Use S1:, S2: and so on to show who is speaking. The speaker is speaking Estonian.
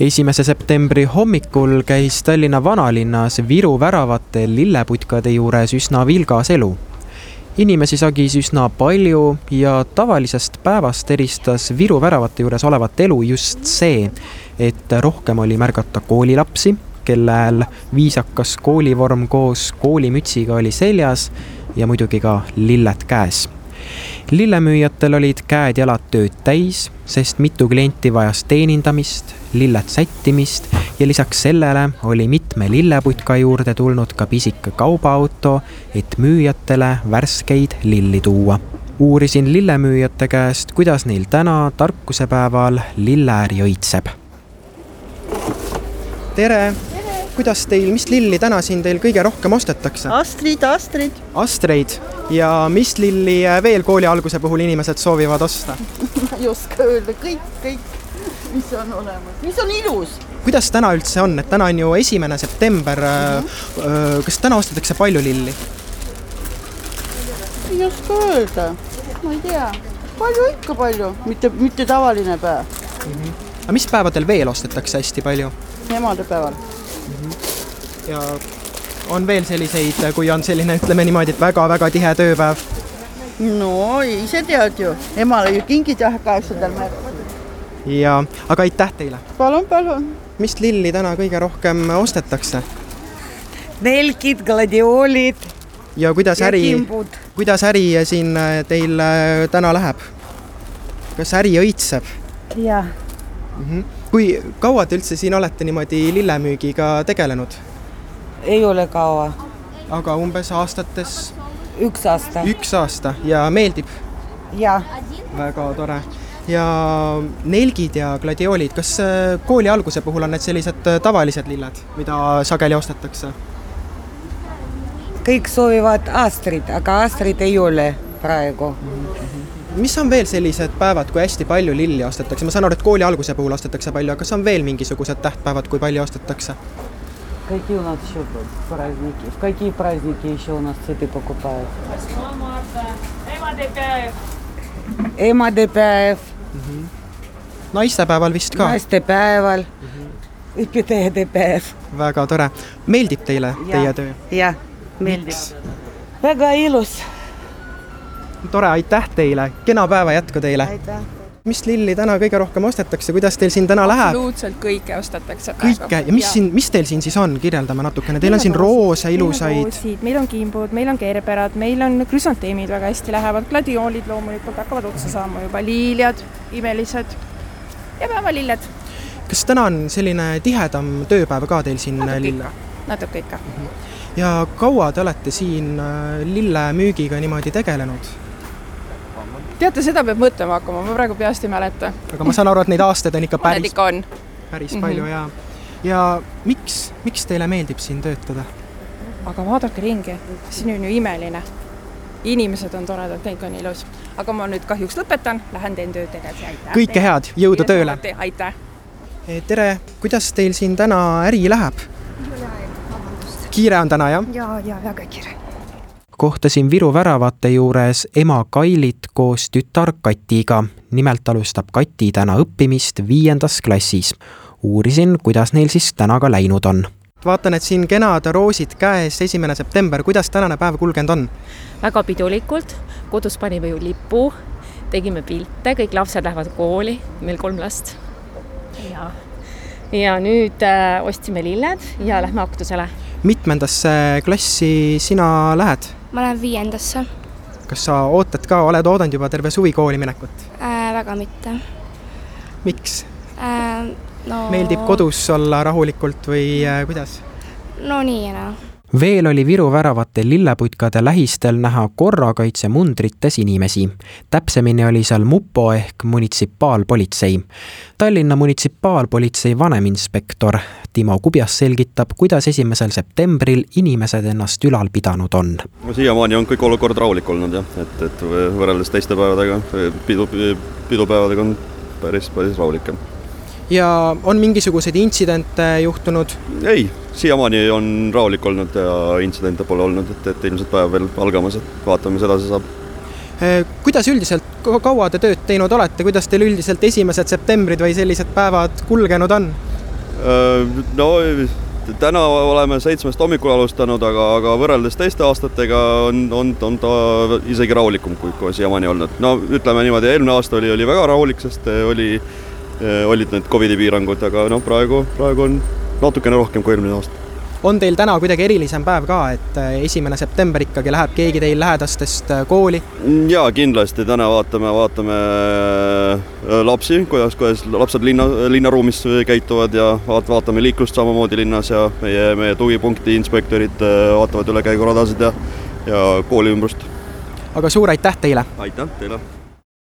S1: esimese septembri hommikul käis Tallinna vanalinnas Viru väravate lilleputkade juures üsna vilgas elu. inimesi sagis üsna palju ja tavalisest päevast eristas Viru väravate juures olevat elu just see, et rohkem oli märgata koolilapsi, kellel viisakas koolivorm koos koolimütsiga oli seljas ja muidugi ka lilled käes lillemüüjatel olid käed-jalad tööd täis, sest mitu klienti vajas teenindamist, lilled sättimist ja lisaks sellele oli mitme lilleputka juurde tulnud ka pisike kaubaauto, et müüjatele värskeid lilli tuua. uurisin lillemüüjate käest, kuidas neil täna tarkusepäeval lilleäri õitseb. tere, tere.! kuidas teil, mis lilli täna siin teil kõige rohkem ostetakse?
S2: Astrid, Astrid.
S1: Astreid ja mis lilli äh, veel kooli alguse puhul inimesed soovivad osta?
S2: ma ei oska öelda, kõik, kõik, mis on olemas, mis on ilus.
S1: kuidas täna üldse on, et täna on ju esimene september mm. -hmm. kas täna ostetakse palju lilli?
S2: ei oska öelda, ma ei tea, palju ikka palju, mitte, mitte tavaline päev mm.
S1: -hmm. aga mis päevadel veel ostetakse hästi palju?
S2: emadepäeval
S1: mm. -hmm. ja on veel selliseid, äh, kui on selline, ütleme niimoodi, et väga-väga tihe tööpäev?
S2: no ise tead ju, emale ju kingid jah, kaheksandal märtsil.
S1: ja, aga aitäh teile!
S2: palun, palun!
S1: mis lilli täna kõige rohkem ostetakse?
S3: nelgid, gladiolid.
S1: ja kuidas ja äri, kuidas äri siin äh, teil täna läheb? kas äri õitseb?
S3: jah
S1: mm. -hmm. kui kaua te üldse siin olete niimoodi lillemüügiga tegelenud?
S3: ei ole kaua.
S1: aga umbes aastates?
S3: üks aasta.
S1: üks aasta ja meeldib?
S3: jah.
S1: väga tore. ja nelgid ja gladiolid, kas äh, kooli alguse puhul on need sellised äh, tavalised lilled, mida sageli ostetakse?
S3: kõik soovivad astrid, aga astrid ei ole praegu mm.
S1: -hmm. mis on veel sellised päevad, kui hästi palju lilli ostetakse, ma saan aru, et kooli alguse puhul ostetakse palju, aga kas on veel mingisugused tähtpäevad, kui palju ostetakse?
S3: Какие у нас еще праздники? В какие праздники еще у нас цветы покупают? 8 марта. Эма Депяев. Эма Депяев.
S1: naistepäeval vist ka?
S3: naistepäeval mm, -hmm. Depäev.
S1: väga tore, meeldib teile ja, teie töö?
S3: jah, meeldib. väga ilus.
S1: tore, aitäh teile, kena päeva jätku teile.
S3: aitäh
S1: mis lilli täna kõige rohkem ostetakse, kuidas teil siin täna läheb?
S4: absoluutselt kõike ostetakse.
S1: kõike ja mis ja. siin, mis teil siin siis on, kirjeldame natukene, teil on siin roose ilusaid.
S4: meil on kimbud, meil on keerperad, meil on krüsanteemid väga hästi lähevad, gladioolid loomulikult hakkavad otsa saama juba, liiliad, imelised ja päevalilled.
S1: kas täna on selline tihedam tööpäev ka teil siin?
S4: natuke ikka.
S1: ja kaua te olete siin lillemüügiga niimoodi tegelenud?
S4: teate, seda peab mõtlema hakkama, ma praegu peast ei mäleta.
S1: aga ma saan aru, et neid aastaid on ikka päris,
S4: ikka on.
S1: päris palju mm -hmm. ja, ja miks, miks teile meeldib siin töötada?
S4: aga vaadake ringi, siin on ju imeline. inimesed on toredad, kõik on ilus, aga ma nüüd kahjuks lõpetan, lähen teen tööd edasi, aitäh.
S1: kõike head, jõudu tööle.
S4: aitäh.
S1: Eh, tere, kuidas teil siin täna äri läheb? kiire on täna jah?
S5: ja, ja väga kiire
S1: kohtasin Viru väravate juures ema Kailit koos tütar Katiga. nimelt alustab Kati täna õppimist viiendas klassis. uurisin, kuidas neil siis täna ka läinud on. vaatan, et siin kenad roosid käes, esimene september, kuidas tänane päev kulgenud on?
S6: väga pidulikult, kodus panime ju lipu, tegime pilte, kõik lapsed lähevad kooli, meil kolm last. ja, ja nüüd äh, ostsime lilled ja lähme aktusele.
S1: mitmendasse klassi sina lähed?
S5: ma lähen viiendasse.
S1: kas sa ootad ka, oled oodanud juba terve suvi kooli minekut
S5: äh,? väga mitte.
S1: miks
S5: äh,? No...
S1: meeldib kodus olla rahulikult või äh, kuidas?
S5: no nii ja naa
S1: veel oli Viru väravate lilleputkade lähistel näha korrakaitsemundrites inimesi. täpsemini oli seal mupo ehk munitsipaalpolitsei. Tallinna munitsipaalpolitsei vaneminspektor Timo Kubjas selgitab, kuidas esimesel septembril inimesed ennast ülal pidanud on.
S7: no siiamaani on kõik olukord rahulik olnud jah, et, et võrreldes teiste päevadega, pidu, pidupäevadega on päris, päris rahulikum
S1: ja on mingisuguseid intsidente juhtunud?
S7: ei, siiamaani on rahulik olnud ja intsidente pole olnud, et, et ilmselt päev veel algamas, et vaatame, mis edasi saab.
S1: Eh, kuidas üldiselt, kaua te tööd teinud olete, kuidas teil üldiselt esimesed septembrid või sellised päevad kulgenud on?
S7: Äh, no täna oleme seitsmest hommikul alustanud , aga , aga võrreldes teiste aastatega on , on , on ta isegi rahulikum , kui , kui siiamaani olnud . no ütleme niimoodi , eelmine aasta oli , oli väga rahulik , sest äh, oli , olid need Covidi piirangud , aga noh , praegu , praegu on natukene rohkem kui eelmine aasta .
S1: on teil täna kuidagi erilisem päev ka , et äh, esimene september ikkagi läheb keegi teil lähedastest äh, kooli ?
S7: ja kindlasti täna vaatame , vaatame äh, lapsi , kuidas , kuidas lapsed linna , linnaruumis käituvad ja vaat- , vaatame liiklust samamoodi linnas ja meie , meie tugipunkti inspektorid äh, vaatavad üle käiguradasid ja , ja kooli ümbrust .
S1: aga suur aitäh teile!
S7: aitäh teile!